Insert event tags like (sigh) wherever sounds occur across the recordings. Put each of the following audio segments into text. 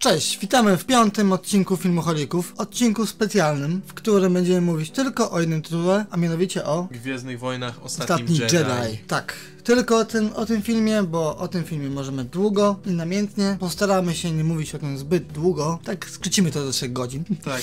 Cześć, witamy w piątym odcinku Filmu Holików, odcinku specjalnym, w którym będziemy mówić tylko o jednym tytule, a mianowicie o Gwiezdnych Wojnach Ostatnim, Ostatni Jedi. Jedi. Tak, tylko o tym, o tym filmie, bo o tym filmie możemy długo i namiętnie. Postaramy się nie mówić o tym zbyt długo, tak skrócimy to do 3 godzin. Tak,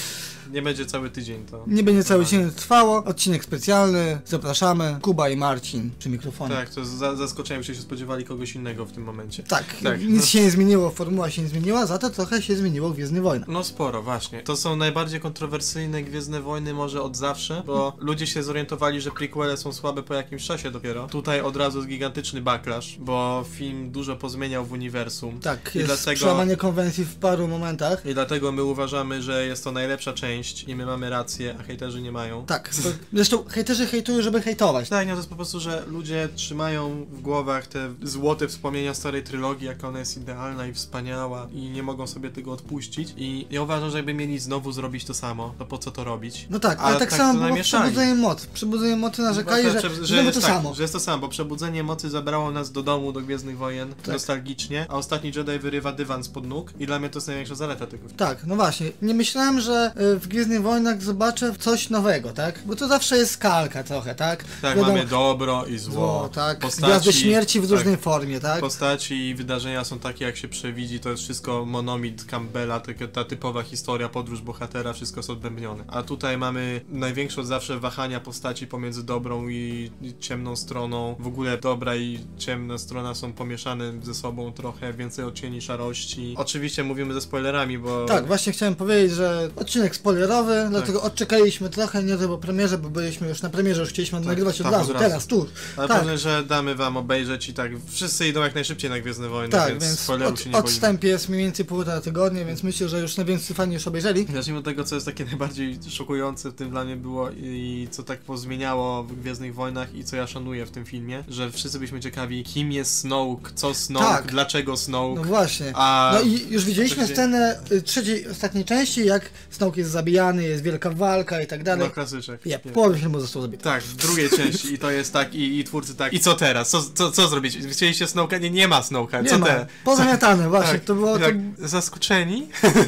nie będzie cały tydzień to. Nie będzie cały dzień trwało, odcinek specjalny, zapraszamy, Kuba i Marcin przy mikrofonie. Tak, to za- zaskoczeniem się, się spodziewali kogoś innego w tym momencie. Tak, Tak. nic się nie zmieniło, formuła się nie zmieniła, za to trochę się zmieniło Gwiezdny Wojna. No sporo, właśnie. To są najbardziej kontrowersyjne Gwiezdne Wojny może od zawsze, bo ludzie się zorientowali, że prequele są słabe po jakimś czasie dopiero. Tutaj od razu jest gigantyczny backlash, bo film dużo pozmieniał w uniwersum. Tak, I jest dlatego- przełamanie konwencji w paru momentach. I dlatego my uważamy, że jest to najlepsza część i my mamy rację, a hejterzy nie mają. Tak, to, zresztą hejterzy hejtują, żeby hejtować. Tak, no to jest po prostu, że ludzie trzymają w głowach te złote wspomnienia starej trylogii, jaka ona jest idealna i wspaniała i nie mogą sobie tego odpuścić i ja uważam, że jakby mieli znowu zrobić to samo, to po co to robić? No tak, ale, tak, samo było w Przebudzeniu Mocy. Przebudzeniu Mocy narzekali, Bo że, prze- że, znowu to tak, samo. Że jest to samo, bo Przebudzenie Mocy zabrało nas do domu, do Gwiezdnych Wojen, Tak. nostalgicznie, a Ostatni Jedi wyrywa dywan spod nóg i dla mnie to jest największa zaleta tego filmu. Tak, no właśnie. Nie myślałem, że y, w Gwiezdnych Wojnach zobaczę coś nowego, tak? Bo to zawsze jest kalka trochę, tak? Tak, Wiadomo, mamy dobro i zło, zło, tak? Gwiazdy śmierci w tak, różnej formie, tak? Postaci i wydarzenia są takie, jak się przewidzi, to jest wszystko monomit Campbella, taka, ta typowa historia, podróż bohatera, wszystko jest odbębnione. A tutaj mamy największe od zawsze wahania postaci pomiędzy dobrą i i ciemną stroną. W ogóle dobra i ciemna strona są pomieszane ze sobą trochę, więcej odcieni szarości. Oczywiście mówimy ze spoilerami, bo... Tak, właśnie chciałem powiedzieć, że odcinek spoilerowy, Tak. dlatego odczekaliśmy trochę, nie tylko premierze, bo byliśmy już na premierze, już chcieliśmy nagrywać od tam razu, Tak, od razu. teraz, tu. Ale tak. pewnie, że damy wam obejrzeć i tak wszyscy idą jak najszybciej na Gwiezdne Wojny, Tak, No więc, więc spoilerów od, się nie boimy. odstęp jest mniej więcej półtora tygodnia, więc myślę, że już najwięcej fani już obejrzeli. Zacznijmy od tego, co jest takie najbardziej szokujące w tym dla mnie było i co tak pozmieniało w Gwiezdnych Wojnach i co ja szanuję w tym filmie, że wszyscy byliśmy ciekawi, kim jest Snoke, co Snoke, Tak. dlaczego Snoke, No właśnie. a... No i już widzieliśmy Oczywiście- scenę y, trzeciej, ostatniej części, jak Snoke jest zabijany, jest wielka walka i tak dalej. No klasyczek. Ja, Nie. połowy filmu został zabity. Tak, w drugiej części i to jest tak i, i twórcy tak. I co teraz? Co, co, co zrobić? Chcieliście Snoke'a? Nie, nie ma Snoke'a. Nie co ma. te? Pozamiatane, (laughs) właśnie. Tak, To było... To... jak zaskoczeni? (laughs)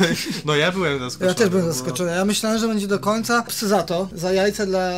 no ja byłem zaskoczony. Ja też byłem bo zaskoczony. Ja myślałem, że będzie do końca. Psy za to, za jajce dla...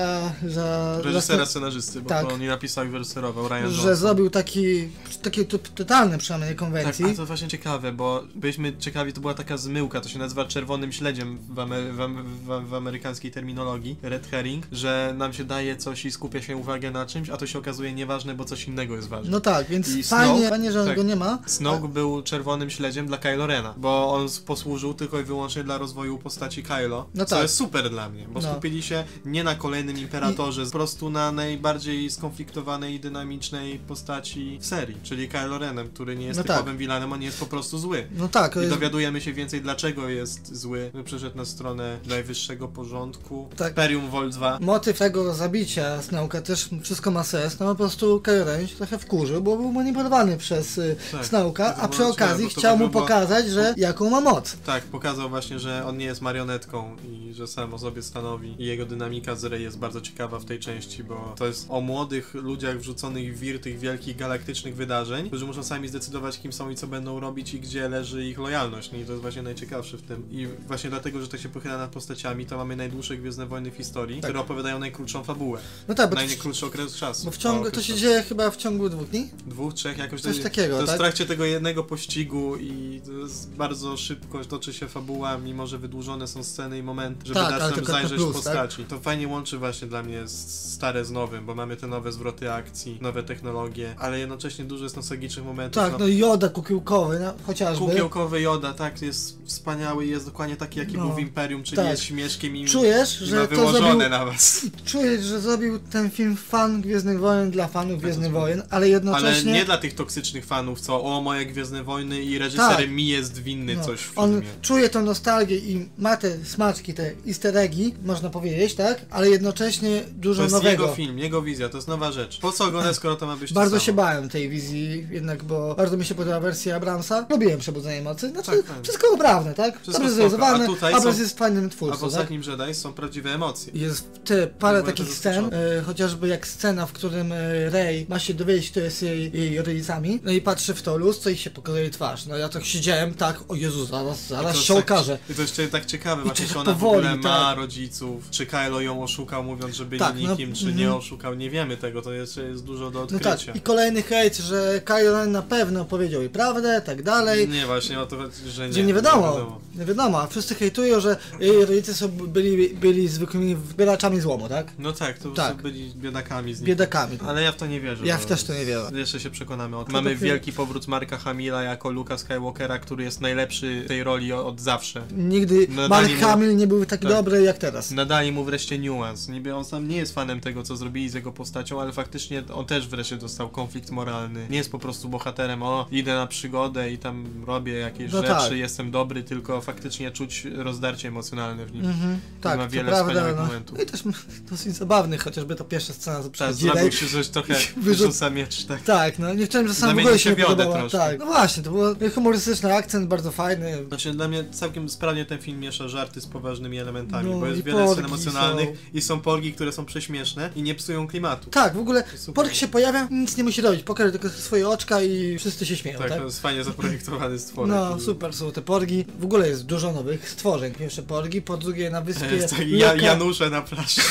Za, Reżysera, za- scenarzysty, bo Tak. to on nie napisał i wyreżyserował, Ryan że Johnson. zrobił taki... Taki typ totalny przynajmniej Tak, konwencji. a to właśnie ciekawe, bo byliśmy ciekawi, to była taka zmyłka, to się nazywa czerwonym śledziem w, ame- w, am- w, am- w amerykańskiej terminologii, red herring, że nam się daje coś i skupia się uwagę na czymś, a to się okazuje nieważne, bo coś innego jest ważne. No tak, więc I fajnie, Snoke- fajnie, że tak. go nie ma. Snoke był czerwonym śledziem dla Kylo Rena, bo on s- posłużył tylko i wyłącznie dla rozwoju postaci Kylo, No co tak. jest super dla mnie, bo No. skupili się nie na kolejnym imperatorze, po prostu na najbardziej skonfliktowanej i dynamicznej postaci w serii, czyli Kylo Renem, który nie jest No tak. typowym vilanem, on nie jest po prostu zły. No tak, to I jest dowiadujemy się więcej, dlaczego jest zły. Przeszedł na stronę najwyższego porządku. Tak. Imperium Vol 2. Motyw tego zabicia Snauka też wszystko ma sens, no po prostu Kylo się trochę wkurzył, bo był manipulowany przez y, Tak, Snauka, to a przy było okazji ciekawe, bo to chciał mu wygląda- pokazać, że jaką ma moc. Tak, pokazał właśnie, że on nie jest marionetką i że sam o sobie stanowi. I jego dynamika z Rey jest bardzo ciekawa w tej części, bo to jest o młodych ludziach wrzuconych w wir tych wielkich galaktycznych wydarzeń, którzy muszą sami zdecydować, kim są i co będą robić i gdzie leży ich lojalność. No I to jest właśnie najciekawsze w tym. I właśnie dlatego, że tak się pochyla nad postaciami, to mamy najdłuższe Gwiezdne Wojny w historii, Tak. które opowiadają najkrótszą fabułę. No tak, bo, to, Najkrótszy okres czasu. bo w ciągu, to Okres się czasu. dzieje chyba w ciągu dwóch dni? dwóch, trzech, jakoś Coś to- takiego, To jest tak? w trakcie tego jednego pościgu i to jest bardzo szybko toczy się fabuła, mimo że wydłużone są sceny i momenty, żeby Tak, ale dać nam tylko na zajrzeć plus, postaci. To fajnie łączy właśnie dla mnie z- stare z nowym, bo mamy te nowe zwroty akcji, nowe technologie, ale jednocześnie dużo jest nostalgicznych momentów. Tak, no i joda kukiełkowy, no, chociażby. Kukiełkowy Joda, tak, jest wspaniały, jest dokładnie taki, jaki No, był w Imperium, czyli tak. jest śmieszkiem i, Czujesz, i że ma to wyłożone zrobił... na was. Czujesz, że zrobił ten film fan Gwiezdnych Wojen dla fanów Gwiezdnych zgodnie. Wojen, ale Ale jednocześnie... nie dla tych toksycznych fanów, co o moje Gwiezdne Wojny i reżyser Tak. mi jest winny No, coś w filmie. on czuje tą nostalgię i ma te smaczki, te easter eggi, można powiedzieć, tak? Ale jednocześnie dużo To jest nowego. jego film, jego wizja, to jest nowa rzecz. Po co oglądać, skoro to ma być to Bardzo samo? się bałem tej wizji, jednak, bo bardzo mi się podoba wersja Abramsa. Lubiłem Przebudzenie Mocy. Znaczy, Tak, fajnie. wszystko poprawne, tak? Wszystko Dobrze spoko, zrealizowane, a tutaj Abrams są- jest fajnym A w twórcą, tak? ostatnim Jedi są prawdziwe emocje. Jest te parę Byłem takich też scen, zaskoczony. e, chociażby jak scena, w którym e, Rey ma się dowiedzieć, kto jest jej, jej rodzicami, no i patrzy w to lustro i się pokazuje jej twarz. No ja tak siedziałem, tak, tak, o Jezu, zaraz, zaraz to się jest tak- okaże. I to jeszcze tak ciekawe, właśnie, tak czy ona powoli, w ogóle ma tak. rodziców, czy Kylo ją oszukał, mówiąc, że byli Tak, no, nikim, czy mhm. nie oszukał, nie wiemy tego, to jeszcze jest dużo do No odkrycia. tak, i kolejny hejt, że Kylo Ren na pewno powiedział jej prawdę, tak dalej. Nie, właśnie o to chodzi, że nie. Gdzie nie wiadomo, nie wiadomo, a wszyscy hejtują, że jej rodzice są, byli, byli zwykłymi zbieraczami złomu, tak? No tak, to Tak. tak. byli biedakami z nich. Biedakami. Ale ja w to nie wierzę. Ja no. w też to nie wierzę. No tak, Jeszcze się przekonamy o tym. To Mamy takie- wielki powrót Marka Hamila jako Luka Skywalkera, który jest najlepszy w tej roli o- od zawsze. Nigdy No, Mark dali mu- Hamill nie był tak, tak. dobry jak teraz. Nadali mu wreszcie niuans. Niby on sam nie jest fanem tego, co zrobili z jego postacią, ale faktycznie on też wreszcie dostał konflikt moralny. Nie jest po prostu bohaterem, o, idę na przygodę i tam robię jakieś No rzeczy, tak. jestem dobry, tylko faktycznie czuć rozdarcie emocjonalne w nim. Mhm, tak, ma to wiele prawda. wspaniałych No. momentów. No i też (laughs) m- dosyć zabawny, chociażby ta pierwsza scena z Tak, przedzilej. zrobił się coś (laughs) trochę, Wyrzu- wyrzuca miecz, tak. Tak, no nie chciałem, że sam w Zamienił ogóle się się nie wiodę podobała. troszkę. Tak, no właśnie, to był humorystyczny akcent, bardzo fajny. Znaczy dla mnie całkiem sprawnie ten film miesza żarty z poważnymi elementami, No, bo i jest wiele porgi scen emocjonalnych i są porgi, które są prześmieszne i nie psują klimatu. Tak, w ogóle Super. Pork się pojawia, nic nie musi robić, pokaże tylko swoje oczka i wszyscy się śmieją, Tak, tak? to jest fajnie zaprojektowany stworek. No, super są te porgi. W ogóle jest dużo nowych stworzeń. Pierwsze porgi, po drugie na To wyspie... (laughs) jest tak, ja, Joko- Janusze na plaży.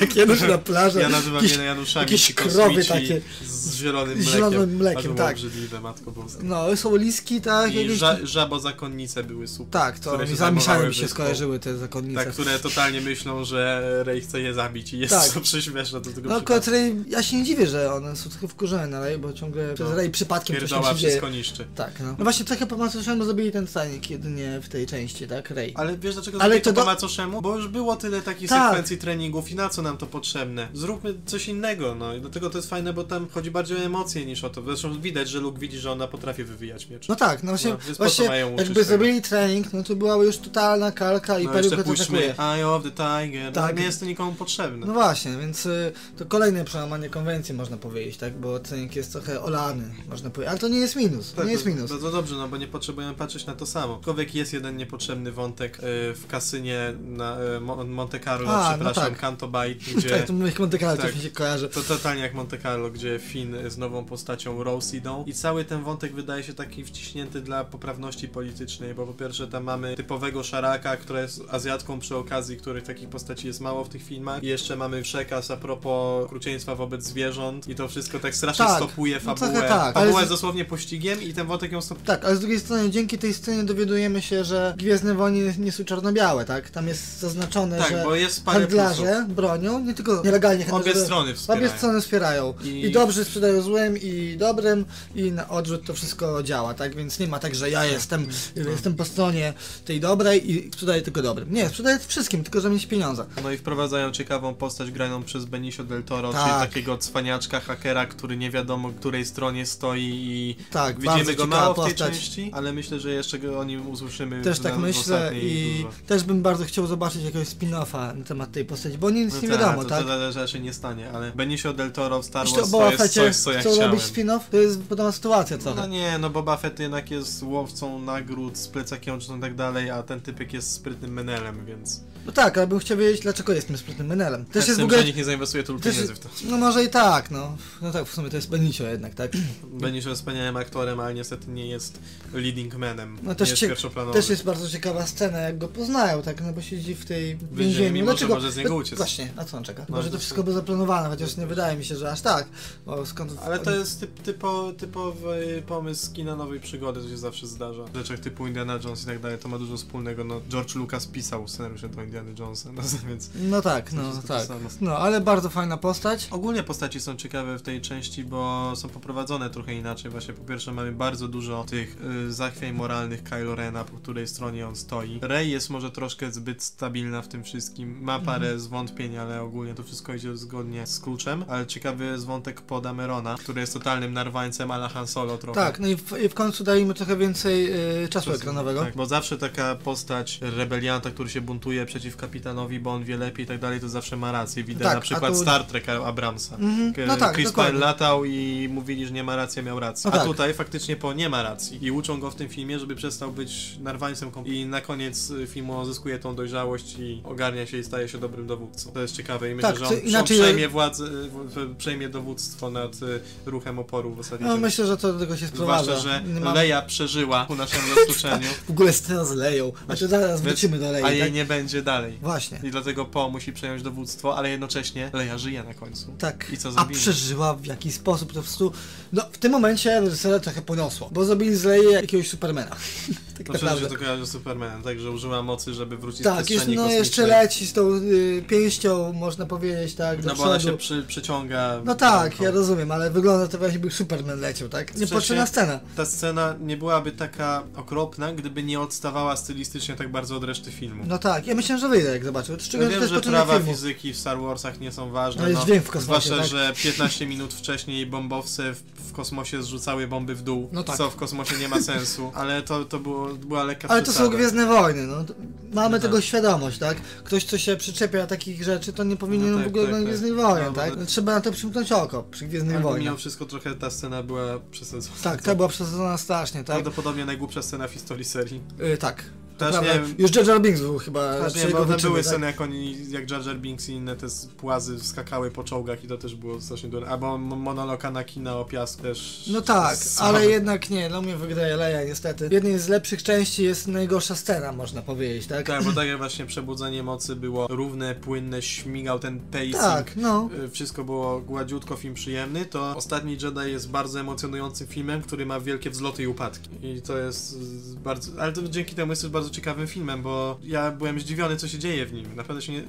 tak, Janusz na plaży. Ja nazywam Jakiś- je Januszami. jakieś ci krowy kosmici takie. Z zielonym mlekiem. zielonym mlekiem, A to było tak. obrzydliwe, matko boska. No, są liski, tak? I jakieś- ża żabozakonnice były super. Tak, to które się zamieszane zajmowały mi się wyspą. skojarzyły te zakonnice. Tak, które totalnie myślą, że Rey chce je zabić i jest Tak. to prześmieszne do tego No, przypadku. której ja się nie dziwię, że one są trochę wkurzone na Rey, bo ciągle przez Rey przypadkiem coś tam Pierdoła się dzieje. No, wszystko niszczy. Tak, no. no właśnie trochę po macoszemu zrobili ten stanik jedynie w tej części, tak? Rey. Ale wiesz dlaczego Ale Ale to to po do- macoszemu? Bo już było tyle takich Tak. sekwencji treningów i na co nam to potrzebne? Zróbmy coś innego, no i dlatego to jest fajne, bo tam chodzi bardziej o emocje niż o to. Zresztą widać, że Luke widzi, że ona potrafi wywijać miecz. No tak, no właśnie, No, więc po co właśnie mają uczyć jakby tego? zrobili trening, no to była już totalna kalka i no, no jeszcze peruka to pójdźmy atakuje. Eye of the Tiger, Tak. tak. nie jest to nikomu potrzebne. No właśnie, więc y, to kolejne przełamanie konwencji można powiedzieć, tak? Bo trening jest trochę olany, można powiedzieć. Ale to nie jest minus, to Tak, nie jest to- minus. No to dobrze, no bo nie potrzebujemy patrzeć na to samo. Aczkolwiek jest jeden niepotrzebny wątek y, w kasynie na y, Mo- Monte Carlo, A, no przepraszam, tak. Canto (laughs) Bay, gdzie... Tak, to mówię, Monte Carlo coś tak. mi się kojarzy. To totalnie jak Monte Carlo, gdzie Finn z nową postacią Rose idą i cały ten wątek wydaje się taki wciśnięty dla poprawności politycznej, bo po pierwsze tam mamy typowego szaraka, która jest Azjatką przy okazji, których takich postaci jest mało w tych filmach i jeszcze mamy przekaz a propos okrucieństwa wobec zwierząt i to wszystko tak strasznie Tak, stopuje no fabułę. trochę tak, ale Fabuła z- jest dosłownie pościgiem i ten wątek ją stopuje. Tak, ale z drugiej strony dzięki tej scenie dowiadujemy się, że Gwiezdne Wojny nie są czarno-białe, tak? Tam jest zaznaczone, Tak, że bo jest parę plusów. handlarze bronią, nie tylko nielegalnie handlarze. Obie strony Obie wspierają. strony wspierają. I... I- dobrzy sprzedają złym i dobrym i na odrzut to wszystko działa, tak? Więc nie ma tak, że ja jestem, Mhm. jestem po stronie tej dobrej i sprzedaję tylko dobrym. Nie, sprzedaję wszystkim, tylko żeby mieć pieniądze. No i wprowadzają ciekawą postać graną przez Benicio del Toro, Tak. czyli takiego cwaniaczka, hakera, który nie wiadomo której stronie stoi i Tak, bardzo widzimy go ciekawa mało w tej postać. części, ale myślę, że jeszcze go o nim usłyszymy Też w- tak w myślę ostatniej i dużo. No też bym bardzo chciał zobaczyć jakiegoś spin-offa na temat tej postaci, bo nic No nie tak, wiadomo, to, tak? To zależy, się nie stanie, ale Benicio del Toro w Star Jeśli Wars o Boba to jest Fecie coś, co ja chcą chciałem. robić spin-off, to jest podobna sytuacja trochę. No nie, no Boba Fett jednak jest łowcą nagród, z plecakiem oczną i tak dalej, a ten typek jest sprytnym menelem, więc... No tak, ale bym chciał wiedzieć, dlaczego jestem sprytnym menelem. Też Też ja jest jest w ogóle... nikt nie zainwestuje tylu Też, pieniędzy w to. no może i tak, no. No tak, w sumie to jest Benicio jednak, tak? Benicio jest wspaniałym aktorem, ale niestety nie jest leading manem, No też nie jest cie- pierwszoplanowy. Też jest bardzo ciekawa scena, jak go poznają, tak, no bo siedzi w tej więzieniu. Więzieniu, mimo że Dlaczego? No może z niego uciec. Właśnie, a co on czeka? No, Może to to- wszystko było zaplanowane, chociaż nie wydaje mi się, że aż tak. Bo skąd... Ale to jest typ, typo, typowy pomysł kina nowej przygody, to się zawsze zdarza. W rzeczach typu Indiana Jones i tak dalej, to ma dużo wspólnego. No, George Lucas pisał scenariusze do Indiana Jonesa, (laughs) no, więc... No tak, To no jest to tak. samo. No, ale bardzo fajna postać. Ogólnie postaci są ciekawe w tej części, bo są poprowadzone trochę inaczej. Właśnie po pierwsze mamy bardzo dużo tych y, zachwiań moralnych Kylo Rena, po której stronie on stoi. Rey jest może troszkę zbyt stabilna w tym wszystkim, Mhm. ma parę zwątpień, ale ogólnie to wszystko idzie zgodnie z kluczem. Ale ciekawy jest wątek Poda Merona, który jest totalnym narwańcem ala Han Solo trochę. Tak, no i w, i w końcu dali mu trochę więcej y, czasu ekranowego. Tak, bo zawsze taka postać rebelianta, który się buntuje przeciw kapitanowi, bo on wie lepiej i tak dalej, to zawsze ma rację. Widać Tak, a na przykład tu- Star Trek Abramsa. Mhm, K- no tak, e, Chris dokładnie. Pine latał i mówili, że nie ma racji, a miał rację. No a tak. tutaj faktycznie po nie ma racji. I uczą go w tym filmie, żeby przestał być narwańcem. kom- I na koniec y, filmu zyskuje tą dojrzałość i ogarnia się i staje się dobrym dowódcą. To jest ciekawe i myślę, Tak, że co on, inaczej- on przejmie władzę, y, w- przejmie dowództwo nad y, ruchem oporu w zasadzie. No myślę, że to do tego się sprowadza. Zwłaszcza, że Nie ma- Leia przeżyła u naszego (laughs) tam zaskoczeniu. W ogóle scena z Leją. Znaczy zaraz wrócimy do Lei, A jej tak? nie będzie dalej. Właśnie. I dlatego Po musi przejąć dowództwo, ale jednocześnie Leja żyje na końcu. Tak. I co A zrobili? przeżyła w jakiś sposób po prostu. No w tym momencie reżysera trochę poniosło, bo zrobili z Lei jakiegoś Supermana. (laughs) tak No przecież się naprawdę. to kojarzy z Supermanem, tak, że użyła mocy, żeby wrócić z Tak, jest, przestrzeni no jeszcze kosmicznej. leci z tą y, pięścią, można powiedzieć, tak, do No bo przodu. ona się przy, przyciąga. No tak, ręką. ja rozumiem, ale wygląda to jakby Superman leciał, tak? Niepotrzebna scena. Ta scena nie byłaby taka okropna, gdyby nie odstawała stylistycznie tak bardzo od reszty filmu. No tak, ja myślałem, że wyjdę jak zobaczył. Ja Szczególnie, wiem, to jest że początek prawa filmu. fizyki w Star Warsach nie są ważne. No jest dźwięk w kosmosie, Zwłaszcza, tak? że 15 minut wcześniej bombowce w, w kosmosie zrzucały bomby w dół, No tak. co w kosmosie nie ma (laughs) sensu, ale to, to było, była lekka Ale to są przesada. Gwiezdne Wojny, no. To- Mamy tak. No tego tak. świadomość, tak? Ktoś, kto się przyczepia takich rzeczy, to nie powinien No tak, w ogóle tak, oglądać tak. Gwiezdnych Wojen, No, tak? bo- Trzeba na to przymknąć oko przy Gwiezdnych Ale Wojnach. mimo wszystko trochę ta scena była przesadzona. (laughs) Tak, to była przesadzona strasznie, tak? Prawdopodobnie najgłupsza scena w historii serii. Y, tak. To No Też prawda. nie wiem. Już Jar Jar Binks był chyba Też nie, lepszy bo jego tam wyczyny, były tak? sceny, jak oni, jak Jar Jar Binks i inne te z- płazy skakały po czołgach i to też było strasznie durne. Albo m- monolog Anakina o piasku też. No tak, słaby. ale jednak nie, dla mnie wygraje Leia niestety. W jednej z lepszych części jest najgorsza scena, można powiedzieć, tak? Tak, bo tak jak właśnie przebudzenie mocy było równe, płynne, śmigał ten pacing. Tak, no. y, Wszystko było gładziutko, film przyjemny, to Ostatni Jedi jest bardzo emocjonującym filmem, który ma wielkie wzloty i upadki. I to jest y, bardzo... Ale to dzięki temu jest też bardzo ciekawym filmem, bo ja byłem zdziwiony, co się dzieje w nim. Naprawdę się nie...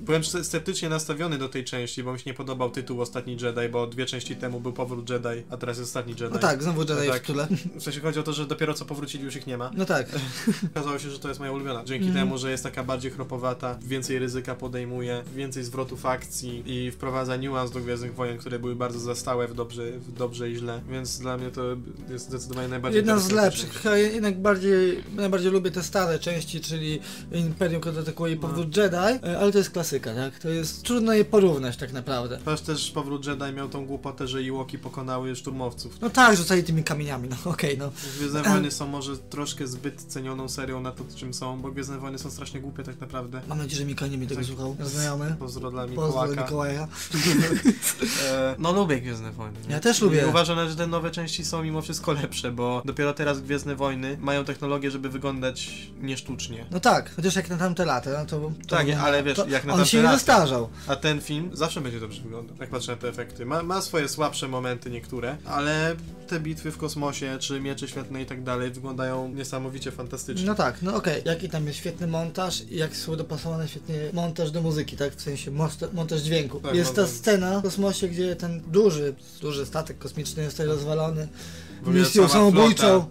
Byłem sce- sceptycznie nastawiony do tej części, bo mi się nie podobał tytuł Ostatni Jedi, bo dwie części temu był Powrót Jedi, a teraz jest Ostatni Jedi. No tak, znowu Jedi tak. w tyle. W sensie chodzi o to, że dopiero co powrócili, już ich nie ma. No tak. (laughs) Okazało się, że to jest moja ulubiona. Dzięki Mhm. temu, że jest taka bardziej chropowata, więcej ryzyka podejmuje, więcej zwrotów akcji i wprowadza niuans do Gwiezdnych Wojen, które były bardzo zastałe w dobrze, w dobrze i źle. Więc dla mnie to jest zdecydowanie najbardziej Jedna z interesująca lepszych, część. chyba jednak bardziej, najbardziej lubię te stare części, czyli Imperium kontratakuje i No. powrót Jedi, e, ale to jest klasyka, tak? To jest trudno je porównać tak naprawdę. Chociaż też powrót Jedi miał tą głupotę, że Iłoki pokonały szturmowców. No tak, rzucali tymi kamieniami, no okej, no. Gwiezdne Wojny są może troszkę zbyt cenioną serią na to, czym są, bo Gwiezdne Wojny są strasznie głupie tak naprawdę. Mam nadzieję, że Miko nie mnie tego Tak. słuchał. Znajomy. Pozdro dla Pozdro dla Mikołaka. Mikołaja. (laughs) E, No lubię Gwiezdne Wojny. nie? Ja też lubię. I uważam, że te nowe części są mimo wszystko lepsze, bo dopiero teraz Gwiezdne Wojny mają technologię, żeby wyglądać niesztucznie. No tak, chociaż jak na tamte lata, no to... to Tak, był- ale wiesz, to, jak na On tamte się nie lata. zestarzał. A ten film zawsze będzie dobrze wyglądał, jak patrzę na te efekty. Ma, ma swoje słabsze momenty niektóre, ale te bitwy w kosmosie, czy miecze świetne i tak dalej wyglądają niesamowicie fantastycznie. No tak, no okej. Jaki tam jest świetny montaż i jak są dopasowane świetnie montaż do muzyki, tak? W sensie most- montaż dźwięku. Tak, jest ta montaż. scena w kosmosie, gdzie ten duży, duży statek kosmiczny jest tutaj rozwalony Tak. W ogóle misją cała samobójczą. flota,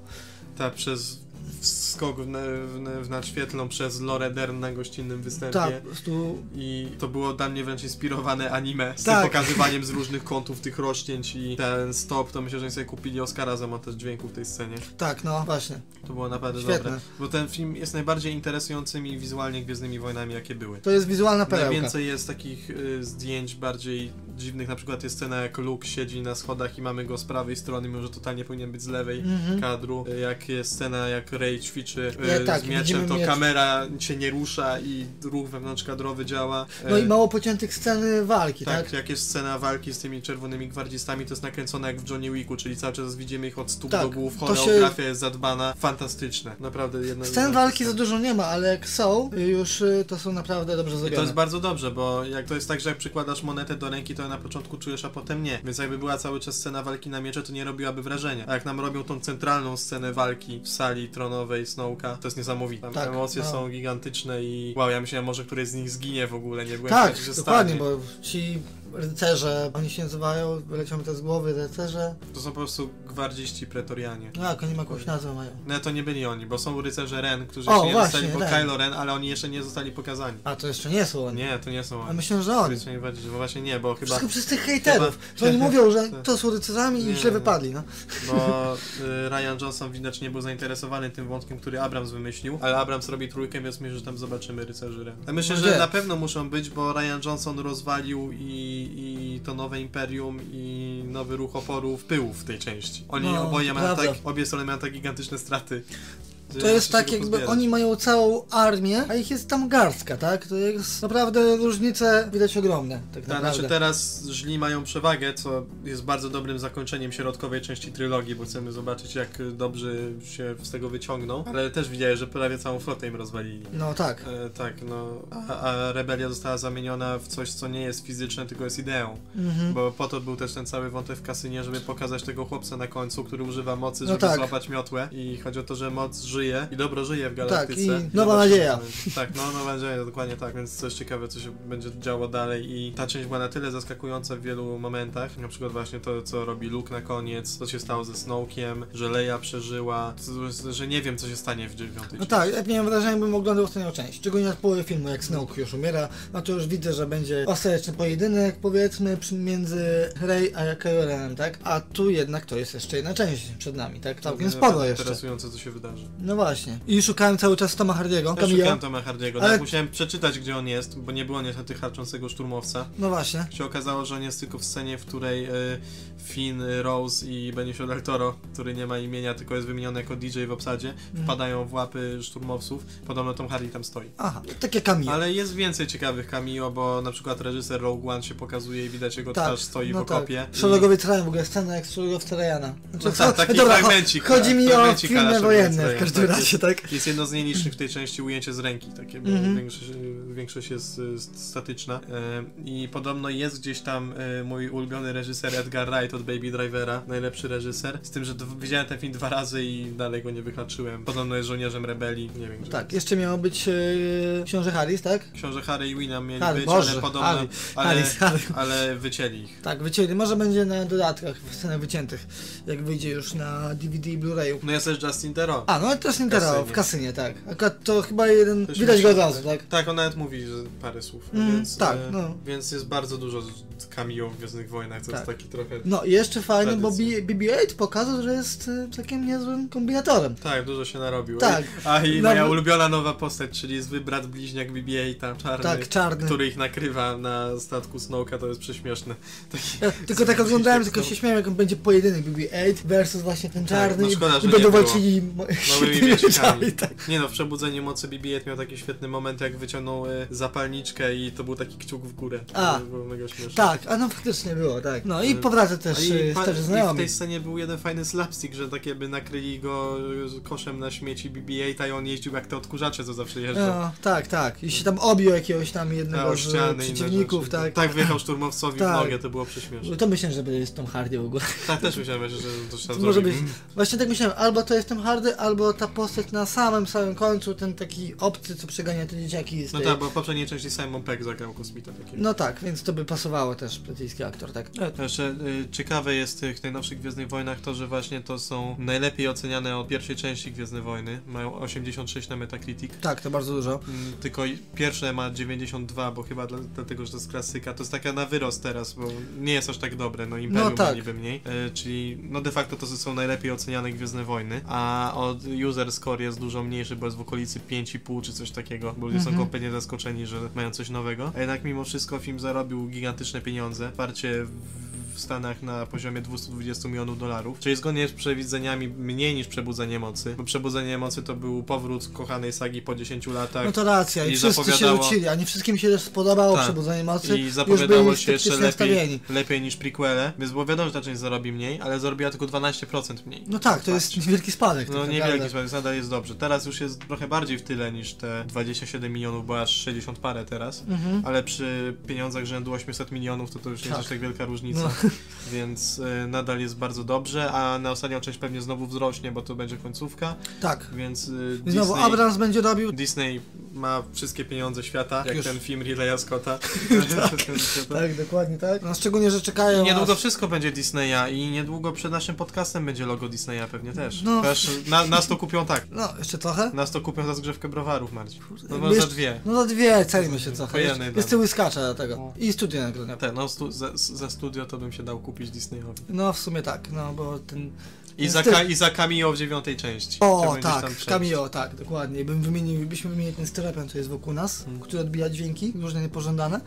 Ta przez skok w, w, w nadświetlą przez Lore Dern na gościnnym występie. Tak, po prostu... I to było dla mnie wręcz inspirowane anime z Tak. tym pokazywaniem z różnych kątów tych rośnięć i ten stop, to myślę, że oni sobie kupili Oscara za montaż dźwięku w tej scenie. Tak, no właśnie. To było naprawdę Świetne. dobre. Bo ten film jest najbardziej interesującymi wizualnie Gwiezdnymi Wojnami, jakie były. To jest wizualna perełka. Najwięcej jest takich y, zdjęć bardziej dziwnych, na przykład jest scena jak Luke siedzi na schodach i mamy go z prawej strony, mimo że totalnie powinien być z lewej Mhm. kadru. Y, Jak jest scena jak Rey ćwiczy y, Ja tak, z mieczem, widzimy to miecz. kamera się nie rusza i ruch wewnątrzkadrowy działa. No Y, i mało pociętych scen walki, tak? tak, jak jest scena walki z tymi czerwonymi gwardzistami, to jest nakręcone jak w Johnny Wicku, czyli cały czas widzimy ich od stóp Tak, do głów, to choreografia jest zadbana, fantastyczne, naprawdę jedna Scen jedna walki za scena. dużo nie ma, ale jak są, już y, to są naprawdę dobrze I zrobione. to jest bardzo dobrze, bo jak to jest tak, że jak przykładasz monetę do ręki, to na początku czujesz, a potem nie. Więc jakby była cały czas scena walki na miecze, to nie robiłaby wrażenia. A jak nam robią tą centralną scenę walki w sali tronowej Snowka, to jest niesamowite. Tam Tak, emocje no. są gigantyczne i wow, ja myślałem może któryś z nich zginie w ogóle, nie byłem Tak, pewien, że się dokładnie, stanie. bo ci rycerze, oni się nazywają, wyleciał mi to z głowy, rycerze. To są po prostu gwardziści pretorianie. No jak oni ma jakąś nazwę mają. No to nie byli oni, bo są rycerze Ren, którzy O, jeszcze nie właśnie, zostali, bo Ren. Kylo Ren, ale oni jeszcze nie zostali pokazani. A to jeszcze nie są oni. Nie, to nie są A oni. myślę, że oni. Rycerze Najbardziej, że właśnie nie, bo chyba, Wszystko przez tych hejterów. Chyba- To oni mówią, (laughs) że Tak. to są rycerzami i Nie, źle no. wypadli, no. bo y, Ryan Johnson widocznie był zainteresowany tym wątkiem, który Abrams wymyślił, ale Abrams robi trójkę, więc myślę, że tam zobaczymy rycerzy Ren. A myślę, Może. że na pewno muszą być, bo Ryan Johnson rozwalił i, i to nowe imperium i nowy ruch oporu w pyłu w tej części. Oni No, oboje to mają tak, prawda. obie strony mają tak gigantyczne straty. To jest się tak go jakby pozbierać. oni mają całą armię, a ich jest tam garstka, tak? To jest naprawdę różnice widać ogromne, tak Tak, znaczy naprawdę. teraz Żli mają przewagę, co jest bardzo dobrym zakończeniem środkowej części trylogii, bo chcemy zobaczyć jak y, dobrze się z tego wyciągną, ale też widziałem, że prawie całą flotę im rozwalili. No tak. E, tak, no. A, a rebelia została zamieniona w coś, co nie jest fizyczne, tylko jest ideą. Mhm. Bo po to był też ten cały wątek w kasynie, żeby pokazać tego chłopca na końcu, który używa mocy, żeby No tak. złapać miotłę. I chodzi o to, że moc żyje i dobro żyje w Tak, i galaktyce. nowa Dobra się nadzieja. żyje. (laughs) Tak, no nowa nadzieja, dokładnie tak. Więc coś ciekawe, co się będzie działo dalej. I ta część była na tyle zaskakująca w wielu momentach. Na przykład właśnie to, co robi Luke na koniec, co się stało ze Snowkiem, że Leia przeżyła, co- że nie wiem, co się stanie w dziewiątej No części. tak, jak miałem wrażenie, bym oglądał ostatnią część. Szczególnie od połowy filmu, jak Snoke już umiera, no to już widzę, że będzie ostateczny pojedynek, powiedzmy, przy- między Rey a Kylo Renem, tak? A tu jednak to jest jeszcze jedna część przed nami, tak? Całkiem sporo Naprawdę jeszcze. Interesujące, co się wydarzy. No właśnie. I szukałem cały czas Toma Hardiego. Ja Kamila. szukałem Toma Hardiego, Ale- tak, musiałem przeczytać, gdzie on jest, bo nie było niestety harczącego szturmowca. No właśnie. Się okazało, że on jest tylko w scenie, w której y, Finn, y, Rose i Benicio del Toro, który nie ma imienia, tylko jest wymieniony jako DJ w obsadzie, Mhm. wpadają w łapy szturmowców. Podobno Tom Hardy tam stoi. Aha, takie Kamil. Ale jest więcej ciekawych cameo, bo na przykład reżyser Rogue One się pokazuje i widać jego twarz stoi w okopie. Tak. Szeregowiec Ryan, w ogóle scena jak z szeregowca Ryana. No tak, taki dobra, fragmencik, tak, Chodzi mi o fragmencik filmy Alasza wojenne w Ryan, każdym tak, razie, tak? Jest jedno z nielicznych w tej części ujęcie z ręki, takie, bo Mhm. większość, większość jest y, st- statyczna. E, I podobno jest gdzieś tam y, mój ulubiony reżyser Edgar Wright od Baby Drivera, najlepszy reżyser. Z tym, że d- widziałem ten film dwa razy i dalej go nie wyhaczyłem. Podobno jest żołnierzem rebelii, nie wiem gdzie. Tak, jeszcze miało być yy, książę Harris, tak? Książę Harry i Winam mieli Harry, być, Boże, ale podobno. Harry, ale, Harris, Harris. ale wycięli ich. Tak, wycięli. Może będzie na dodatkach, w scenach wyciętych, jak wyjdzie już na DVD i Blu-rayu. No jest też Justin Theroux. A, no też nie teraz, Kasynie. w kasynie, tak. Akurat to chyba jeden, Też widać go od myślę, razu, tak? Tak, on nawet mówi że parę słów, Mm, więc, tak, e, no. więc jest bardzo dużo z- cameo w Gwiezdnych Wojnach, to jest Tak. taki trochę... No i jeszcze fajne, bo Tradycja. B- BB-8 pokazał, że jest y, takim niezłym kombinatorem. Tak, dużo się narobił. Tak. A i No, moja bo- ulubiona nowa postać, czyli zły brat bliźniak BB-8, czarny, Tak, czarny. który ich nakrywa na statku Snowka, to jest prześmieszne. Taki... Ja tylko tak oglądałem, tylko się śmiałem, jak on będzie pojedynek BB-8 versus właśnie ten Tak, czarny no szkoda, i, że i nie będą było. walczyli mo- (laughs) Małymi świetnymi mieczkami. mieczami, tak. Nie no, w Przebudzeniu Mocy BB-8 miał taki świetny moment, jak wyciągnął e, zapalniczkę i to był taki kciuk w górę. A. To było mega śmieszne. Tak, a no faktycznie było, tak. No i Mm. powraca też I, y, pa- stary I w znajomy. tej scenie był jeden fajny slapstick, że takie by nakryli go y, koszem na śmieci BB-8 i on jeździł jak te odkurzacze, co zawsze jeżdżą. No, tak, tak. I się tam objął jakiegoś tam jednego Na z ściany i y, inne przeciwników, rzeczy. tak. Tak wyjechał szturmowcowi Tak. w nogę, to było prześmieszne. To myślę, że będzie z Tom Hardy w ogóle. Tak też myślałem, że że to trzeba To może zrobić. Mm. być. Właśnie tak myślałem, albo to jest ten hardy, albo ta postać na samym samym końcu, ten taki obcy, co przegania te dzieciaki z No tej... tak, bo w poprzedniej części Simon Peck zagrał kosmita takiego. No tak, więc to by pasowało też brytyjski aktor, tak? To Jeszcze y, ciekawe jest w tych najnowszych Gwiezdnych Wojnach to, że właśnie to są najlepiej oceniane od pierwszej części Gwiezdne Wojny. Mają 86 na Metacritic. Tak, to bardzo dużo. Mm, Tylko i- pierwsze ma 92, bo chyba dla, dlatego, że to jest klasyka. To jest taka na wyrost teraz, bo nie jest aż tak dobre. No Imperium No ma tak. niby mniej. E, czyli no de facto to są najlepiej oceniane Gwiezdne Wojny. A od user score jest dużo mniejszy, bo jest w okolicy 5,5 czy coś takiego. Bo ludzie Mhm. są kompletnie zaskoczeni, że mają coś nowego. A jednak mimo wszystko film zarobił gigantyczne pieniądze. Wsparcie w- w Stanach na poziomie 220 milionów dolarów, czyli zgodnie z przewidzeniami mniej niż Przebudzenie Mocy, bo Przebudzenie Mocy to był powrót kochanej sagi po 10 latach. No to racja, i, Tak. I wszyscy się zapowiadało- rzucili, a nie wszystkim się też spodobało Tak. przebudzenie mocy. I znaczy, już zapowiadało byli tak się jeszcze sceptycznie lepiej, nastawieni. lepiej niż prequele, więc było wiadomo, że ta część zarobi mniej, ale zarobiła tylko 12% mniej. No tak, to jest niewielki spadek. No tak niewielki naprawdę. spadek, nadal jest dobrze. Teraz już jest trochę bardziej w tyle niż te 27 milionów, bo aż 60 parę teraz. Mhm. Ale przy pieniądzach rzędu 800 milionów to to już nie jest Tak. aż tak wielka różnica. No. (laughs) Więc y, nadal jest bardzo dobrze, a na ostatnią część pewnie znowu wzrośnie, bo to będzie końcówka. Tak. Więc y, I Znowu Disney... Abrams będzie robił. Disney ma wszystkie pieniądze świata, jak Już. ten film Rileya (laughs) Scotta. (laughs) Tak, dokładnie tak. No, szczególnie, że czekają. I niedługo aż- wszystko będzie Disneya i niedługo przed naszym podcastem będzie logo Disneya pewnie też. No. też na, nas to kupią tak. No, jeszcze trochę? Nas to kupią za zgrzewkę browarów, Marcin. No bo Jeszcze- za dwie. No za dwie, celimy się trochę. Po jednej Jeszcze- damy. Jeszcze łyskacza dlatego. No. I studia nagrodne. Te, no stu, za, za studio to bym się dał kupić Disneyowi. No w sumie tak, no bo ten I Więc za, też- Ka- i za Cameo w dziewiątej części. O, Chciałbym gdzieś tam tak, przejść. Cameo, tak, dokładnie. Bym wymienił, byśmy wymienili ten styropian, co jest wokół nas, Mhm. który odbija dźwięki, różne niepożądane.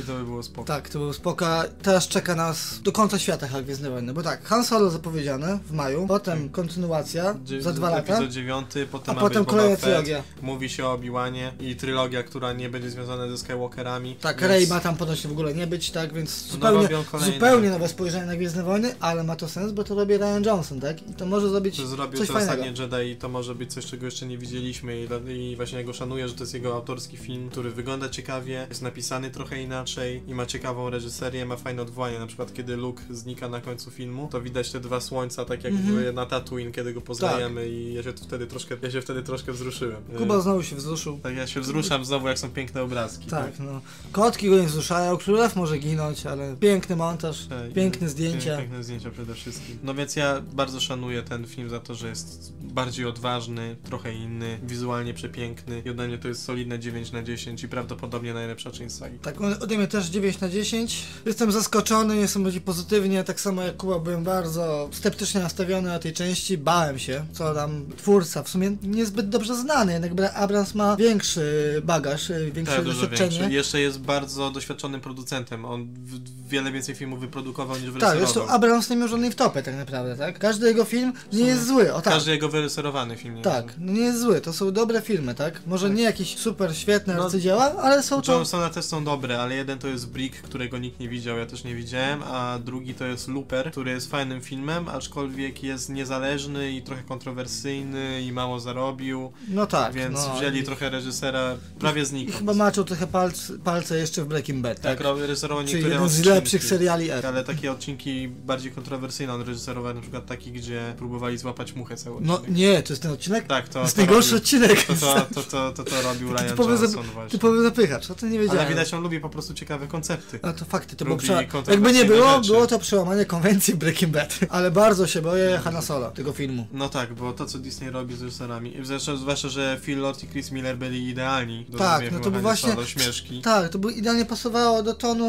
I to by było spoko. Tak, to było spoka. Teraz czeka nas do końca świata chyba Gwiezdne Wojny, bo tak, Han Solo zapowiedziane w maju, Tak. potem kontynuacja Dzie- Tak, za dwa lata, Epizod dziewiąty, a potem ma potem być Boba kolejna Fett, trylogia. Mówi się o Obi-Wanie i trylogia, która nie będzie związana ze Skywalkerami. Tak, więc- Rey ma tam podobnie w ogóle nie być, tak, więc No, zupełnie, robią kolejne. zupełnie nowe spojrzenie na Gwiezdne Wojny, ale ma to sens, bo to robi Ryan Johnson, tak? I to może zrobić Że zrobił coś to fajnego. ostatnie Jedi i to może być coś, czego jeszcze nie widzieliśmy i, dla- i właśnie ja go szanuję, że to jest jego autorski film, który wygląda ciekawie, jest napisany trochę inaczej i ma ciekawą reżyserię, ma fajne odwołanie, na przykład kiedy Luke znika na końcu filmu, to widać te dwa słońca, tak jak Mhm. Tak. w, na Tatooine, kiedy go poznajemy i ja się tu wtedy troszkę, ja się wtedy troszkę wzruszyłem. Kuba Y, znowu się wzruszył. Tak, ja się wzruszam znowu, jak są piękne obrazki. Tak, no. Kotki go nie wzruszają, królew może ginąć, ale piękny montaż, Tak, i- piękne zdjęcia. Piękne zdjęcia przede wszystkim. No więc ja bardzo szanuję ten film za to, że jest bardziej odważny, trochę inny, wizualnie przepiękny i ode mnie to jest solidne 9 na 10 i prawdopodobnie najlepsza część sagi. Tak, on- ode mnie też 9 na 10. Jestem zaskoczony, jestem bardziej pozytywnie, tak samo jak Kuba byłem bardzo sceptycznie nastawiony na tej części, bałem się, co tam twórca, w sumie niezbyt dobrze znany, jednak Bra- Abrams ma większy bagaż, y, większe Tak, dużo większy. doświadczenie. Jeszcze jest bardzo doświadczonym producentem. On w- wiele więcej filmów wyprodukował niż Tak, wyreżyserował. zresztą Abrams nie miał żadnej wtopy tak naprawdę, tak? Każdy jego film nie jest zły, o tak. Każdy jego wyreżyserowany film. nie Tak, no nie jest zły, to są dobre filmy, tak? Może Tak. nie jakieś super świetne No, arcydzieła, ale są to... Johnsona też są dobre, ale jeden to jest Brick, którego nikt nie widział, ja też nie widziałem, a drugi to jest Looper, który jest fajnym filmem, aczkolwiek jest niezależny i trochę kontrowersyjny i mało zarobił, No tak, więc no, wzięli i- trochę reżysera prawie I znikąd. chyba maczą trochę palce, palce jeszcze w Breaking Bad, Tak, tak? tak reżyserował Czyli niektóre jeden z odcinki. lepszych seriali ever. Ale takie odcinki bardziej kontrowersyjne on reżyserował, na przykład taki, gdzie próbowali złapać muchę cały No odcinek. nie, to jest ten odcinek? Tak, To to, jest to, najgorszy robił, odcinek. to, to, to, to, to, to robił Ryan Typowy zap- Johnson właśnie. (laughs) Typowy zapychacz, o tym nie wiedziałem. Ale widać, on lubi po prostu ciekawe koncepty. A to fakty, to było Lubi prze... Jakby nie kontrowersyjne było, rzeczy. było to przełamanie konwencji Breaking Bad. (laughs) Ale bardzo się boję Hanna Solo, tego filmu. No tak, bo to co Disney robi z reżyserami, zwłaszcza, zwłaszcza że Phil Lord i Chris Miller byli idealni do Tak, zrobienia no to by filmowania właśnie- solo, śmieszki. Tak, to by idealnie pasowało do tonu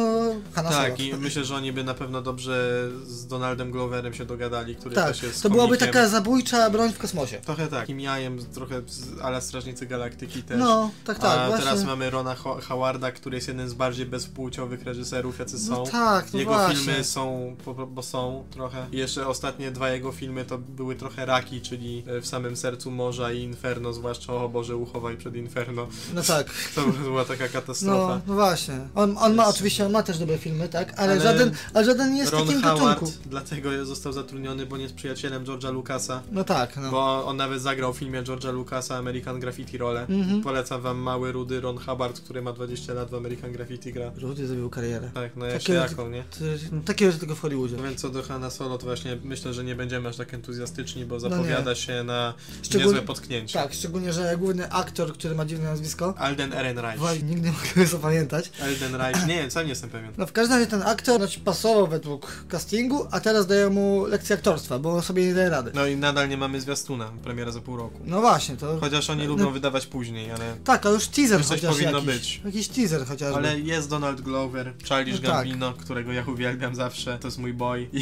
Hanna Solo. Tak, i myślę, że oni by na pewno dobrze z Donaldem Gloverem się dogadali, który Tak, też jest to byłaby komikiem. taka zabójcza broń w kosmosie. Trochę tak, Kim jajem, trochę z ala Strażnicy Galaktyki też. No, tak, tak, A właśnie. teraz mamy Rona Ho- Howarda, który jest jeden z bardziej bezpłciowych reżyserów, jacy są. No tak, no Jego właśnie. filmy są, po- po- bo są trochę. I jeszcze ostatnie dwa jego filmy to były trochę raki, czyli e, w samym sercu morza i Inferno, zwłaszcza o Boże, uchowaj przed Inferno. No tak. To (laughs) była taka No, katastrofa. no właśnie. On, on ma Jest- oczywiście, on ma też dobre filmy, tak? Ale, Ale żaden, ale żaden nie jest w Ron takim Howard gatunku. dlatego został zatrudniony, bo nie jest przyjacielem George'a Lucasa. No tak, no. Bo on nawet zagrał w filmie George'a Lucasa American Graffiti rolę. Mhm. Polecam wam mały, rudy Ron Hubbard, który ma 20 lat w American Graffiti gra. Rudy zrobił karierę. Tak, no ja Takie- się jaką, nie? To jest- no, Takie rzeczy tylko w Hollywoodzie. No więc co do Hanna Solo, to właśnie myślę, że nie będziemy aż tak entuzjastyczni, bo No nie. zapowiada się na Szczegól- niezłe potknięcie. Tak, szczególnie, że główny aktor, który ma dziwne nazwisko, Alden Ehrenreich. Waj, nigdy nie mogę (laughs) zapamiętać. Alden Reich, nie, sam nie jestem pewien. No w każdym razie ten aktor znaczy, pasował według castingu, a teraz dają mu lekcję aktorstwa, bo on sobie nie daje rady. No i nadal nie mamy zwiastuna, premiera za pół roku. No właśnie, to... Chociaż oni No. lubią wydawać później, ale... Tak, a już teaser Już coś chociaż powinno jakiś. być. Jakiś teaser chociażby. Ale jest Donald Glover, Charlie No tak. Gambino, którego ja uwielbiam zawsze, to jest mój boy. I,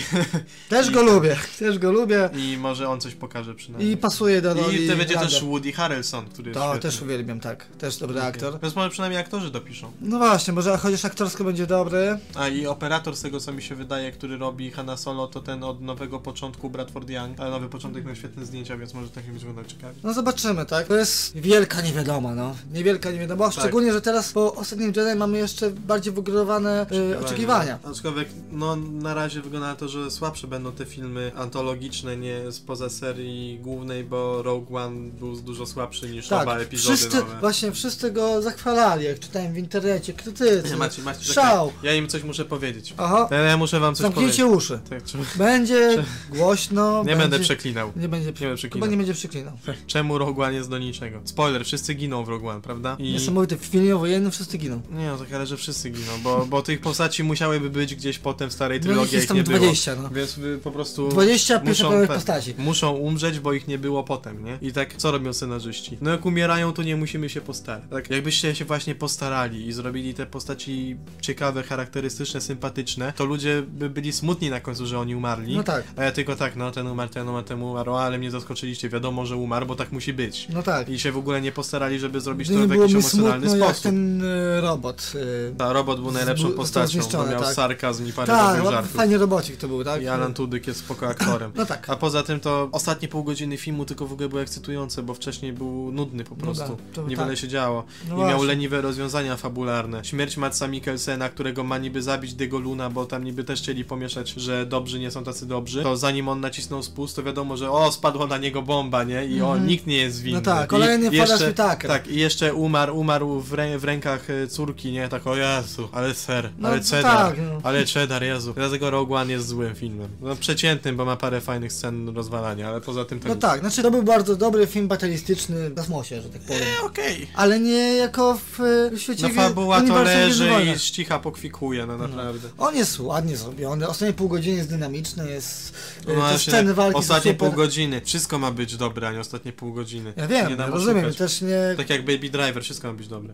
Też go lubię, też go lubię i może on coś pokaże i przynajmniej. pasuje do roli I to będzie Branda. też Woody Harrelson, który jest To świetny. też uwielbiam, tak. Też dobry aktor. Więc może przynajmniej aktorzy dopiszą. No właśnie, może chociaż aktorsko będzie dobry. A i operator z tego co mi się wydaje, który robi Hanna Solo, to ten od nowego początku Bradford Young. Ale nowy początek miał świetne zdjęcia, więc może tak nie będzie wyglądał ciekawie. No zobaczymy, tak? To jest wielka niewiadoma, no. Niewielka niewiadoma, Tak. szczególnie, że teraz po ostatnim Jedi mamy jeszcze bardziej wygórowane y, oczekiwania. Aczkolwiek, no na razie wygląda na to, że słabsze będą te filmy antologiczne, nie spoza serii głównej, bo Rogue One był dużo słabszy niż Tak, oba epizody wszyscy, nowe. właśnie wszyscy go zachwalali, jak czytałem w internecie, krytycy. Nie, Maciej, Maciej, Szał. czekaj. Ja im coś muszę powiedzieć. Aha, Ja, ja muszę wam coś zamknijcie powiedzieć. uszy. Tak, czy... Będzie głośno, Nie będzie... będę przeklinał. Nie będzie Nie przeklinał. będę Chyba przeklinał. nie będzie przeklinał. Czemu Rogue One jest do niczego? Spoiler, wszyscy giną w Rogue One, prawda? I... Niesamowite, w filmie wojennym wszyscy giną. Nie, no tak, ale że wszyscy giną, bo, bo tych postaci musiałyby być gdzieś potem w starej No ich trylogii, jest jak nie tam było. 20, no. Więc y, po prostu 20 pierwszoplanowych pe- postaci. muszą umrzeć, bo ich nie było potem, nie? I tak, co robią scenarzyści? No jak umierają, to nie musimy się postarać. Tak, jakbyście się właśnie postarali i zrobili te postaci ciekawe, charakterystyczne, sympatyczne, to ludzie by byli smutni na końcu, że oni umarli. umarli. No tak. A ja tylko tak, no ten umarł, ten umarł, ten umarł, ale mnie zaskoczyliście, wiadomo, że umarł, bo tak musi być. No tak. I się w ogóle nie postarali, żeby zrobić Gdyby to w było jakiś mi emocjonalny smutno, jak sposób. ten y, robot. y, Ta robot był najlepszą Zbu- postacią, bo zniszczony, miał tak. sarkazm i parę tak, dobrych ładny, żartów. fajnie robocik to był, tak? I Alan Tudyk jest spoko aktorem. No tak. A poza tym to ostatnie pół godziny filmu tylko w ogóle było ekscytujące, bo wcześniej był nudny po No prostu. tak, to Niewiele tak. się działo. No I miał właśnie. leniwe rozwiązania fabularne. Śmierć Matsa Mikkelsena, którego ma niby zabić Degoluna, bo tam niby też chcieli pomieszać, że dobrzy nie są tacy dobrzy. To zanim on nacisnął spust, to wiadomo, że o, spadła na niego bomba, nie? I on Mhm. nikt nie jest winny. No tak, I kolejny jeszcze- Forrest Whitaker. Tak, i jeszcze umarł, umarł w, rę- w rękach e, córki, nie? Tak, o Jezu, ale ser, No ale to cedar, tak, no. ale cheddar, Jezu. Dlatego Rogue One jest złym filmem. No przeciętnym, bo ma parę fajnych scen rozwalania, ale poza tym to No nic. tak, znaczy to był bardzo dobry film batalistyczny, zasmo się, że tak powiem. E, Okej. Ale nie jako w y, świecie No gry- fabuła to uniwersum leży Gwiezdnych Wojen. i ścicha pokfikuje, no naprawdę. On jest ładnie zrobiony, ostatnie pół godziny jest dynamiczne, jest y, No te właśnie, sceny walki ostatnie są super. pół godziny. Wszystko ma być dobre, a nie ostatnie pół godziny. Ja nie wiem, da rozumiem, oszukać. też nie, Tak jak Baby Driver, wszystko ma być dobre.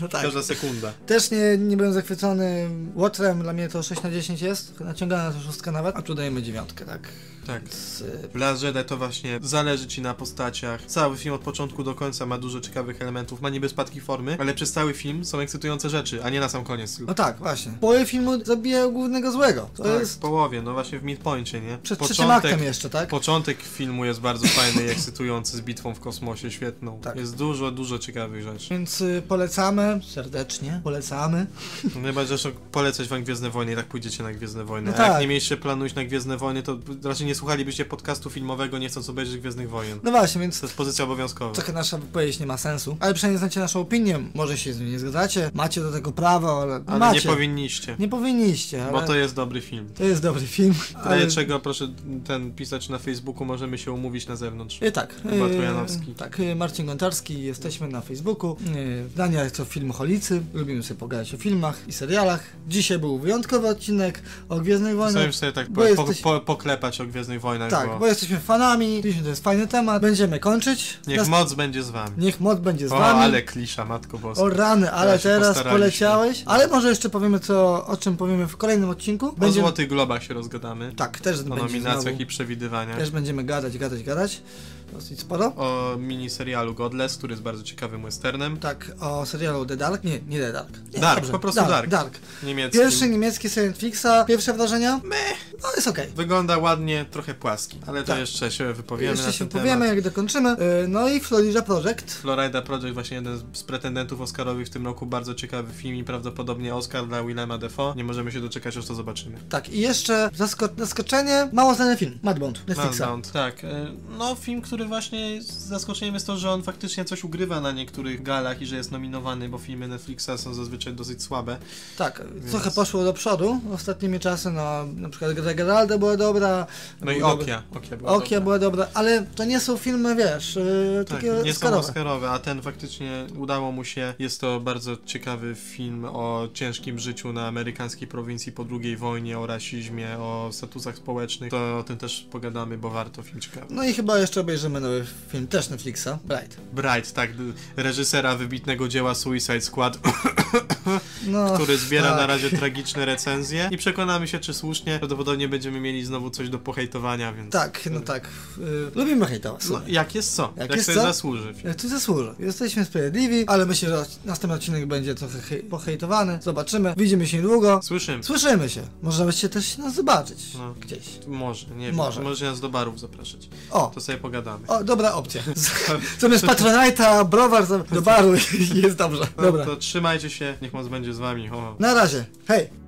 no tak. Każda sekunda. też nie, nie byłem zachwycony Łotrem, dla mnie to 6 na 10 jest, naciągana to szóstka nawet, a tu dajemy dziewiątkę, tak. Tak. Z, y, Blast Jedi to właśnie zależy ci na postaciach. Cały film od początku do końca ma dużo ciekawych elementów, ma niby spadki formy, ale przez cały film są ekscytujące rzeczy, a nie na sam koniec. tylko. no tak, właśnie. Połowie filmu zabijają głównego złego, to tak, w jest połowie, no właśnie w midpoincie, nie? przed trzecim aktem jeszcze, tak? Początek filmu jest bardzo fajny i ekscytujący z bitwą w kosmosie, świetną. Tak. Jest dużo, dużo ciekawych (laughs) rzeczy. Więc y, polecamy, serdecznie polecamy. No Chyba zresztą polecać wam Gwiezdne Wojny i tak pójdziecie na Gwiezdne Wojny. No A jak tak. nie mieliście planu iść na Gwiezdne Wojny, to raczej nie słuchalibyście podcastu filmowego nie chcąc obejrzeć Gwiezdnych Wojen. No właśnie, więc To jest pozycja obowiązkowa. trochę nasza wypowiedź nie ma sensu, ale przynajmniej znacie naszą opinię, może się z nią nie zgadzacie, macie do tego prawo, ale, Ale macie. nie powinniście, Nie powinniście, ale bo to jest dobry film. to jest dobry film. Y, Ale czego proszę ten pisać na Facebooku, możemy się umówić na zewnątrz. Y, tak. Chyba y, Trojanowski. Tak, y, Marcin Gontarski, jesteśmy na Facebooku. Y, W Daniach to filmoholicy, lubimy sobie pogadać o filmach i serialach. Dzisiaj był wyjątkowy odcinek o Gwiezdnych Wojnach. Chcemy sobie tak bo po, po, jesteś- po, poklepać o Gwiezdnych Wojnach, Tak, bo, bo jesteśmy fanami, Mieliśmy, to jest fajny temat. Będziemy kończyć. niech Nas- moc będzie z wami. Niech mod będzie z O, wami. ale klisza, matko boska. O rany, ale Teraz się teraz postaraliśmy. poleciałeś. Ale może jeszcze powiemy co, o czym powiemy w kolejnym odcinku. O Będziemy- Złotych Globach się rozgadamy. Tak, też o będzie nominacjach znowu, i przewidywaniach. Też będziemy gadać, gadać, gadać. Dosyć sporo. o miniserialu Godless, który jest bardzo ciekawym westernem. Tak, o serialu The Dark. Nie, nie The Dark. Nie, Dark, po prostu Dark. Dark. Niemieckim. Pierwszy niemiecki serial Netflixa, pierwsze wrażenia? Meh. No jest okej. Wygląda ładnie, trochę płaski, ale to Tak. jeszcze się wypowiemy Jeszcze na się ten powiemy, temat. jak dokończymy. Yy, No i Florida Project. Florida Project, właśnie jeden z pretendentów Oscarowych w tym roku, bardzo ciekawy film i prawdopodobnie Oscar dla Willema Defoe. Nie możemy się doczekać, aż to zobaczymy. Tak, i jeszcze zasko- zaskoczenie, mało znany film, Mad Bond, Netflixa. Manbound, tak. e, No film, który właśnie z- zaskoczeniem jest to, że on faktycznie coś ugrywa na niektórych galach i że jest nominowany, bo filmy Netflixa są zazwyczaj dosyć słabe. Tak, Więc- trochę poszło do przodu ostatnimi czasy, no na przykład Gra Geralda była dobra. No i był dobry- Okia. Okia była Okia dobra. była dobra, ale to nie są filmy, wiesz, yy, Tak, takie nie są skarowe. Oscarowe, a ten faktycznie udało mu się. Jest to bardzo ciekawy film o ciężkim życiu na amerykańskiej prowincji po II wojnie, o rasizmie, o statusach społecznych. To o tym też pogadamy, bo warto, film ciekawy. No i chyba jeszcze obejrzymy nowy film, też Netflixa, Bright. Bright, tak, d- reżysera wybitnego dzieła Suicide Squad, No, (laughs) który zbiera na tak. razie tragiczne recenzje i przekonamy się, czy słusznie. Prawdopodobnie będziemy mieli znowu coś do pohejtowania, więc... Tak, no tak. Yy, lubimy hejtować. No, jak jest co? Jak Jak, jest sobie co? zasłuży. Ja Tu zasłużę. Jesteśmy sprawiedliwi, ale myślę, że następny odcinek będzie trochę hej- pohejtowany. Zobaczymy. Widzimy się niedługo. Słyszymy. Słyszymy się. Może nawet się też nas zobaczyć. No. Gdzieś. Może, nie wiem. Może. Może. Możecie nas do barów zapraszać. O! To sobie pogadamy. (laughs) O, dobra opcja. Zamiast Patronite'a, browar za- do baru (laughs) i jest dobrze. No Dobra. To trzymajcie się, niech moc będzie z wami. O. Na razie. Hej!